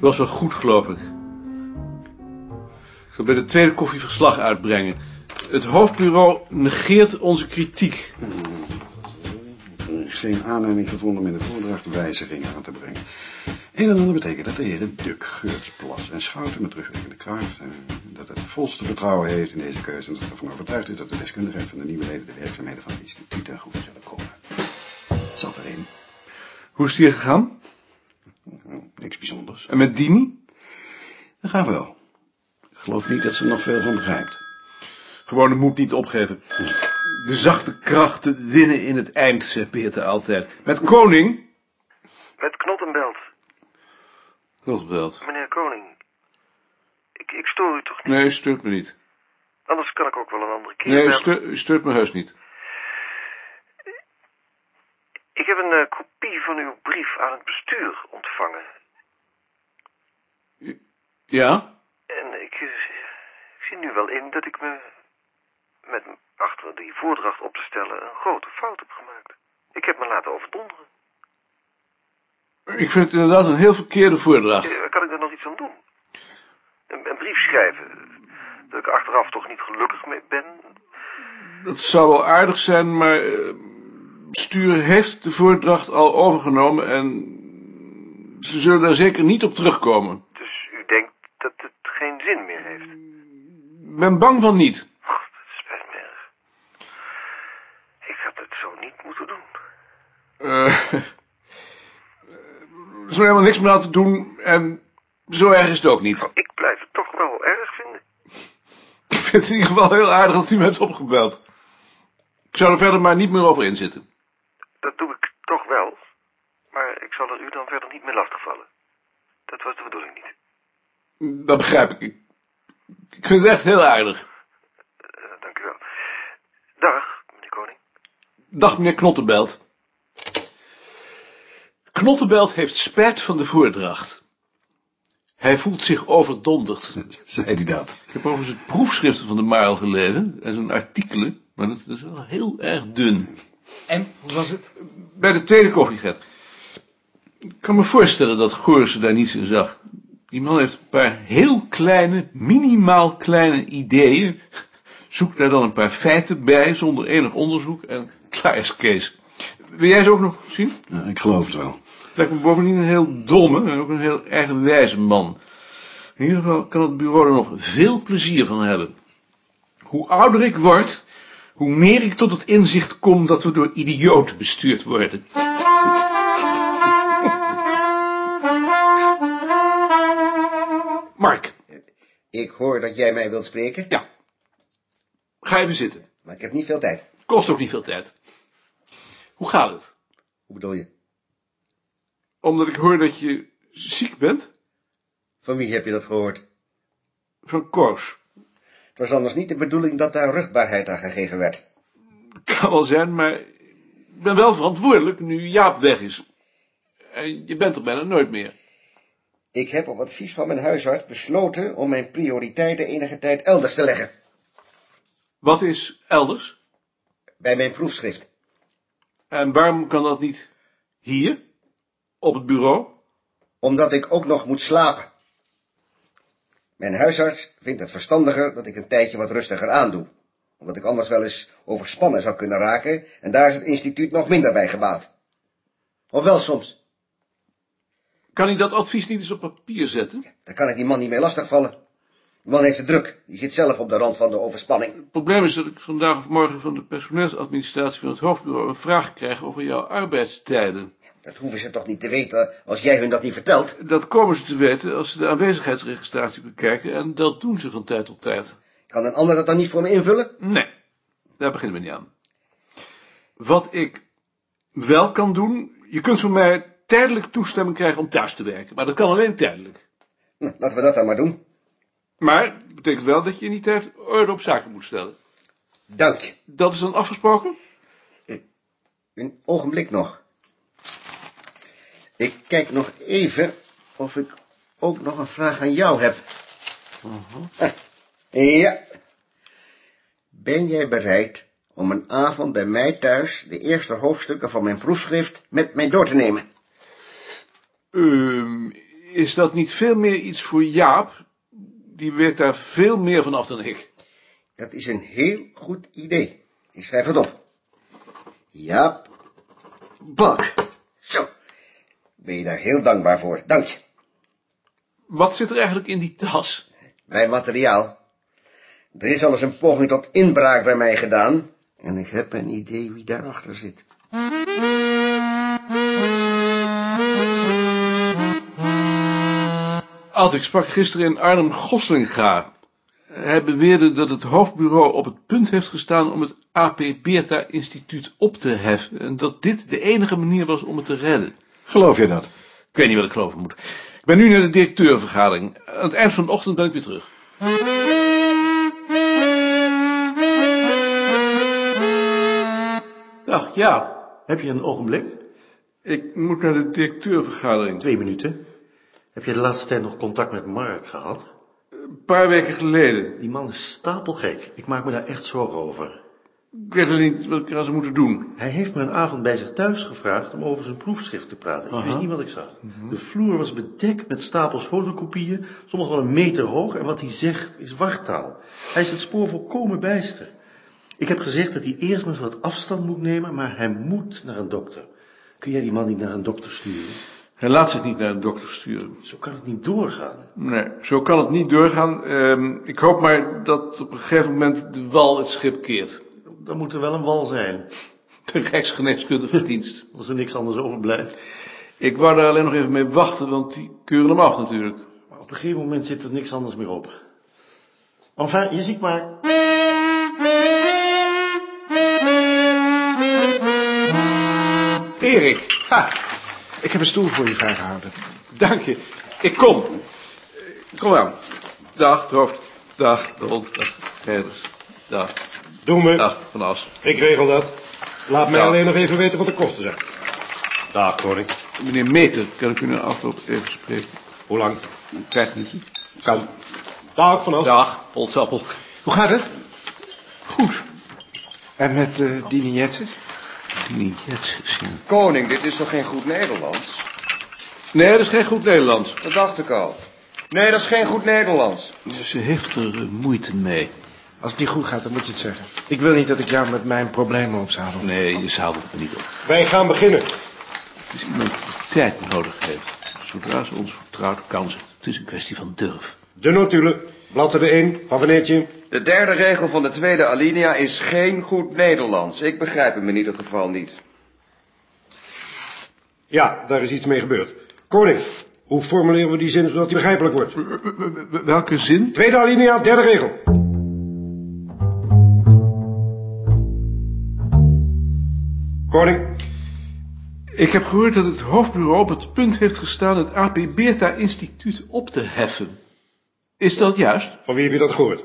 was wel goed, geloof ik. Ik zal bij de tweede koffie verslag uitbrengen. Het hoofdbureau negeert onze kritiek. Er is geen Eh, aanleiding gevonden met de voordracht wijzigingen aan te brengen. Een en ander betekent dat de heren Duk, Geurts, Plas en Schouten met terugwerkende kracht... eh, dat het volste vertrouwen heeft in deze keuze... en dat het ervan overtuigd is dat de deskundigheid van de nieuwe leden... de werkzaamheden van het instituut ten goede zullen komen. Het zat erin. Hoe is het hier gegaan? Nou, Niks bijzonders. En met Dini? Dat gaan we wel. Ik geloof niet dat ze er nog veel van begrijpt. Gewoon de moed niet opgeven. De zachte krachten winnen in het eind, zegt Beerte altijd. Met Koning? Met Knotten belt, Rotbelt. meneer Koning. Ik, ik stoor u toch niet? Nee, stuurt me niet. Anders kan ik ook wel een andere keer Nee, bellen. stu- stuurt me heus niet. Ik heb een eh, kopie van uw brief aan het bestuur ontvangen. Ja? En ik, eh, ik zie nu wel in dat ik me met achter die voordracht op te stellen een grote fout heb gemaakt. Ik heb me laten overdonderen. Ik vind het inderdaad een heel verkeerde voordracht. Eh, Kan ik daar nog iets aan doen? Een, een brief schrijven. Dat ik achteraf toch niet gelukkig mee ben. Dat zou wel aardig zijn, maar... eh, Bestuur heeft de voordracht al overgenomen en... Ze zullen daar zeker niet op terugkomen. Dus u denkt dat het geen zin meer heeft. Ik ben bang van niet. Och, dat spijt me erg. Ik had het zo niet moeten doen. Eh, er is er helemaal niks meer aan te doen en zo erg is het ook niet. Ik blijf het toch wel erg vinden. Ik vind het in ieder geval heel aardig dat u me hebt opgebeld. Ik zou er verder maar niet meer over inzitten. Dat doe ik toch wel. Maar ik zal er u dan verder niet mee lastigvallen. Dat was de bedoeling niet. Dat begrijp ik. Ik- Ik vind het echt heel aardig. Eh, dank u wel. Dag, meneer Koning. Dag meneer Knottenbelt. Knottenbelt heeft spijt van de voordracht. Hij voelt zich overdonderd. Zei die dat? Ik heb overigens het proefschriften van de Marel gelezen en zijn artikelen, maar dat is wel heel erg dun. En, hoe was het? Bij de tweede koffie, Gert. Ik kan me voorstellen dat Goorse daar niets in zag. Die man heeft een paar heel kleine, minimaal kleine ideeën. Zoek daar dan een paar feiten bij, zonder enig onderzoek. En klaar is Kees. Wil jij ze ook nog zien? Nou, ik geloof het wel. Het lijkt me bovendien een heel domme en ook een heel eigenwijze man. In ieder geval kan het bureau er nog veel plezier van hebben. Hoe ouder ik word, hoe meer ik tot het inzicht kom dat we door idioten bestuurd worden. Mark, Ik hoor dat jij mij wilt spreken, ja. Ga even zitten. maar ik heb niet veel tijd. Kost ook niet veel tijd. Hoe gaat het? Hoe bedoel je? Omdat ik hoor dat je ziek bent Van wie heb je dat gehoord? van Koos. Het was anders niet de bedoeling dat daar rugbaarheid aan gegeven werd. Kan wel zijn, maar ik ben wel verantwoordelijk nu Jaap weg is. En je bent er bijna nooit meer. Ik heb op advies van mijn huisarts besloten om mijn prioriteiten enige tijd elders te leggen. Wat is elders? Bij mijn proefschrift. En waarom kan dat niet hier, op het bureau? Omdat ik ook nog moet slapen. Mijn huisarts vindt het verstandiger dat ik een tijdje wat rustiger aandoe. Omdat ik anders wel eens overspannen zou kunnen raken en daar is het instituut nog minder bij gebaat. Ofwel soms. Kan hij dat advies niet eens op papier zetten? Daar kan ik die man niet mee lastigvallen. Die man heeft het druk. Die zit zelf op de rand van de overspanning. Het probleem is dat ik vandaag of morgen van de personeelsadministratie van het hoofdbureau een vraag krijg over jouw arbeidstijden. Dat hoeven ze toch niet te weten als jij hun dat niet vertelt? Dat komen ze te weten als ze de aanwezigheidsregistratie bekijken en dat doen ze van tijd tot tijd. Kan een ander dat dan niet voor me invullen? Nee, daar beginnen we niet aan. Wat ik wel kan doen, je kunt van mij tijdelijk toestemming krijgen om thuis te werken, maar dat kan alleen tijdelijk. Nou, laten we dat dan maar doen. Maar dat betekent wel dat je in die tijd orde op zaken moet stellen. Dank je. Dat is dan afgesproken? Een ogenblik nog. Ik kijk nog even of ik ook nog een vraag aan jou heb. Ah, Ja. Ben jij bereid om een avond bij mij thuis de eerste hoofdstukken van mijn proefschrift met mij door te nemen? Ehm, is dat niet veel meer iets voor Jaap? Die weet daar veel meer van af dan ik. Dat is een heel goed idee. Ik schrijf het op. Jaap Bak. Zo. Ben je daar heel dankbaar voor. Dank je. Wat zit er eigenlijk in die tas? Mijn materiaal. Er is al eens een poging tot inbraak bij mij gedaan. En ik heb een idee wie daarachter zit. Ad, ik sprak gisteren in Arnhem Goslinga. Hij beweerde dat het hoofdbureau op het punt heeft gestaan om het AP Beerta Instituut op te heffen. En dat dit de enige manier was om het te redden. Geloof je dat? Ik weet niet wat ik geloven moet. Ik ben nu naar de directeurvergadering. Aan het eind van de ochtend ben ik weer terug. Dag, ja. Heb je een ogenblik? Ik moet naar de directeurvergadering. Twee minuten. Heb je de laatste tijd nog contact met Mark gehad? Een paar weken geleden. Die man is stapelgek. Ik maak me daar echt zorgen over. Ik weet nog niet wat ik eraan zou moeten doen. Hij heeft me een avond bij zich thuis gevraagd om over zijn proefschrift te praten. Ik wist niet wat ik zag. De vloer was bedekt met stapels fotocopieën, sommige wel een meter hoog. En wat hij zegt is wartaal. Hij is het spoor volkomen bijster. Ik heb gezegd dat hij eerst maar eens wat afstand moet nemen, maar hij moet naar een dokter. Kun jij die man niet naar een dokter sturen? Hij laat zich niet naar de dokter sturen. Zo kan het niet doorgaan. Nee, zo kan het niet doorgaan. Ehm, ik hoop maar dat op een gegeven moment de wal het schip keert. Dan moet er wel een wal zijn, De Rijksgeneeskundige dienst. als er niks anders overblijft. Ik wou daar alleen nog even mee wachten, want die keuren hem af natuurlijk. Maar op een gegeven moment zit er niks anders meer op. Enfin, je ziet maar. Erik, ha, ik heb een stoel voor je vrijgehouden. Dank je. Ik kom. Eh, Kom aan. Dag, het hoofd. Dag, de hond. Dag, Gerders. Dag, Doe me. dag, Van As. Ik regel dat. Laat mij Ja. alleen nog even weten wat de kosten zijn. Dag, Corrie. Meneer Meter, kan ik u na afloop even spreken? Hoe lang? Vijf minuten. Kan. Dag, Van As. Dag, Polsappel. Hoe gaat het? Goed. eh, En met uh, Dini Jetsen? Niet Jetsens, ja. Koning, dit is toch geen goed Nederlands? Nee, dat is geen goed Nederlands. Dat dacht ik al. Nee, dat is geen goed Nederlands. Ze heeft er eh, moeite mee. Als het niet goed gaat, dan moet je het zeggen. Ik wil niet dat ik jou met mijn problemen opzadel. Nee, je zou het niet op. Wij gaan beginnen. Het is iemand die tijd nodig heeft. Zodra ze ons vertrouwt, kan ze. Het is een kwestie van durf. De notulen. Bladzijde 1 van Veneertje. De derde regel van de tweede alinea is geen goed Nederlands. Ik begrijp hem in ieder geval niet. Ja, daar is iets mee gebeurd. Koning, hoe formuleren we die zin zodat die begrijpelijk wordt? Welke zin? Tweede alinea, derde regel. Koning, Ik heb gehoord dat het hoofdbureau op het punt heeft gestaan het AP Beerta Instituut op te heffen. Is dat juist? van wie heb je dat gehoord?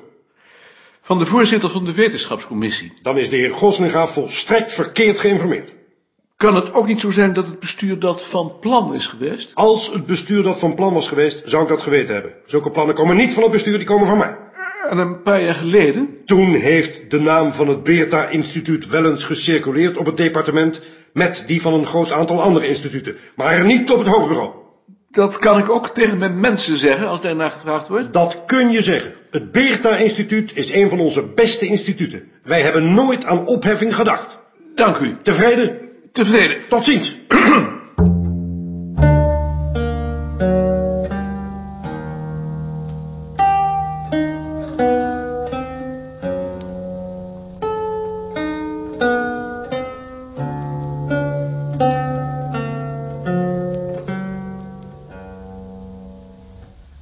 Van de voorzitter van de wetenschapscommissie. Dan is de heer Goslinga volstrekt verkeerd geïnformeerd. Kan het ook niet zo zijn dat het bestuur dat van plan is geweest? Als het bestuur dat van plan was geweest, zou ik dat geweten hebben. Zulke plannen komen niet van het bestuur, die komen van mij. En een paar jaar geleden? Toen heeft de naam van het Beerta-instituut wel eens gecirculeerd op het departement... met die van een groot aantal andere instituten, maar niet op het hoofdbureau. Dat kan ik ook tegen mijn mensen zeggen als daarna gevraagd wordt. Dat kun je zeggen. Het Beerta-instituut is een van onze beste instituten. Wij hebben nooit aan opheffing gedacht. Dank u. Tevreden? Tevreden. Tot ziens.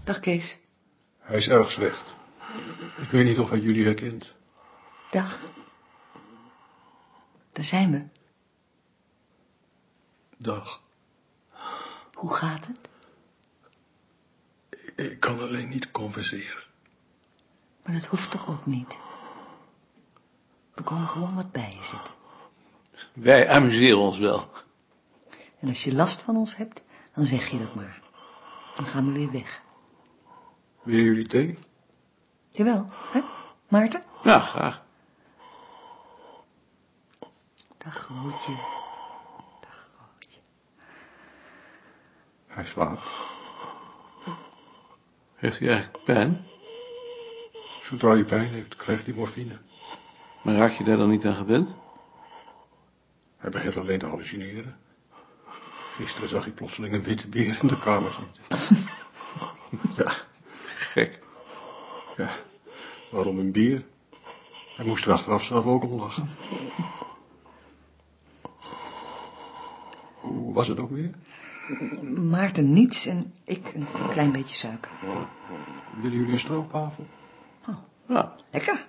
Dag Kees. Hij is erg slecht. Ik weet niet of hij jullie herkent. Dag. Daar zijn we. Dag. Hoe gaat het? Ik kan alleen niet converseren. Maar dat hoeft toch ook niet? We komen gewoon wat bij je zitten. Wij amuseren ons wel. En als je last van ons hebt, dan zeg je dat maar. Dan gaan we weer weg. Willen jullie thee? Jawel, hè? Maarten? Ja, graag. Dag Rootje. Dag Rootje. Hij slaapt. Heeft hij eigenlijk pijn? Zodra hij pijn heeft, krijgt hij morfine. Maar raak je daar dan niet aan gewend? Hij begint alleen te hallucineren. Gisteren zag hij plotseling een witte beer in de kamer zitten. Ja, gek. Ja, waarom een beer? Hij moest er achteraf zelf ook om lachen. Hoe was het ook weer? Maarten niets en ik een klein beetje suiker. Willen jullie een stroopwafel? Ja, Lekker.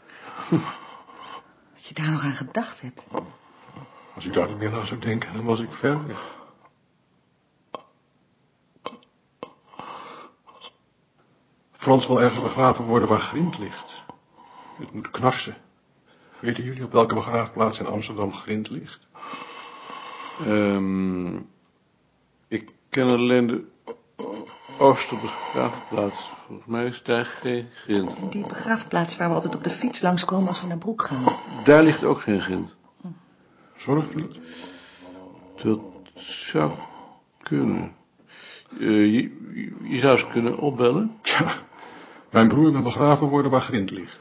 Als je daar nog aan gedacht hebt. Als ik daar niet meer aan zou denken, dan was ik ver weg. Frans wil ergens begraven worden waar Grind ligt. Het moet knarsen. Weten jullie op welke begraafplaats in Amsterdam Grind ligt? Ehm, ik ken alleen de o- Oosterbegraafplaats. Volgens mij is daar geen grind. Die begraafplaats waar we altijd op de fiets langskomen als we naar Broek gaan. Daar ligt ook geen grind. Zorgvliet? Dat zou kunnen. Eh, je, je- je zou ze kunnen opbellen. Tja, mijn broer wil begraven worden waar Grind ligt.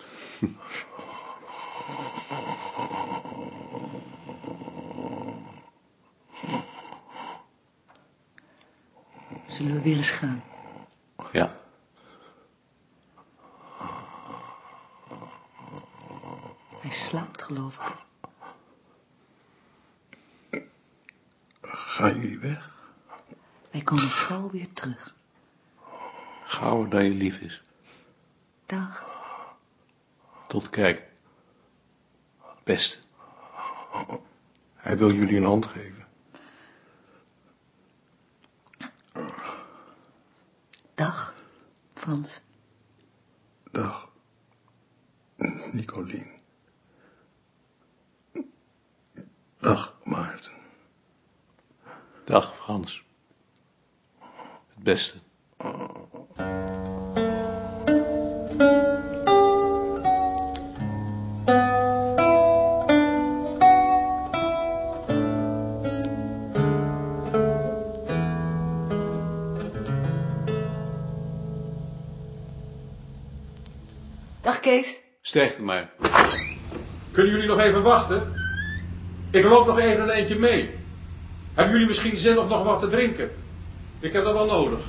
Zullen we weer eens gaan? Ja. Hij slaapt, geloof ik. Gaan jullie weg? Wij komen gauw weer terug. Gauwer dan je lief is. Dag. Tot kijk. Beste. Hij wil jullie een hand geven. Dag, Frans. Dag, Nicolien. Dag, Maarten. Dag Frans. Het beste. Dag, Kees. Sterkte maar. Kunnen jullie nog even wachten? Ik loop nog even een eentje mee. Hebben jullie misschien zin om nog wat te drinken? Ik heb dat wel nodig.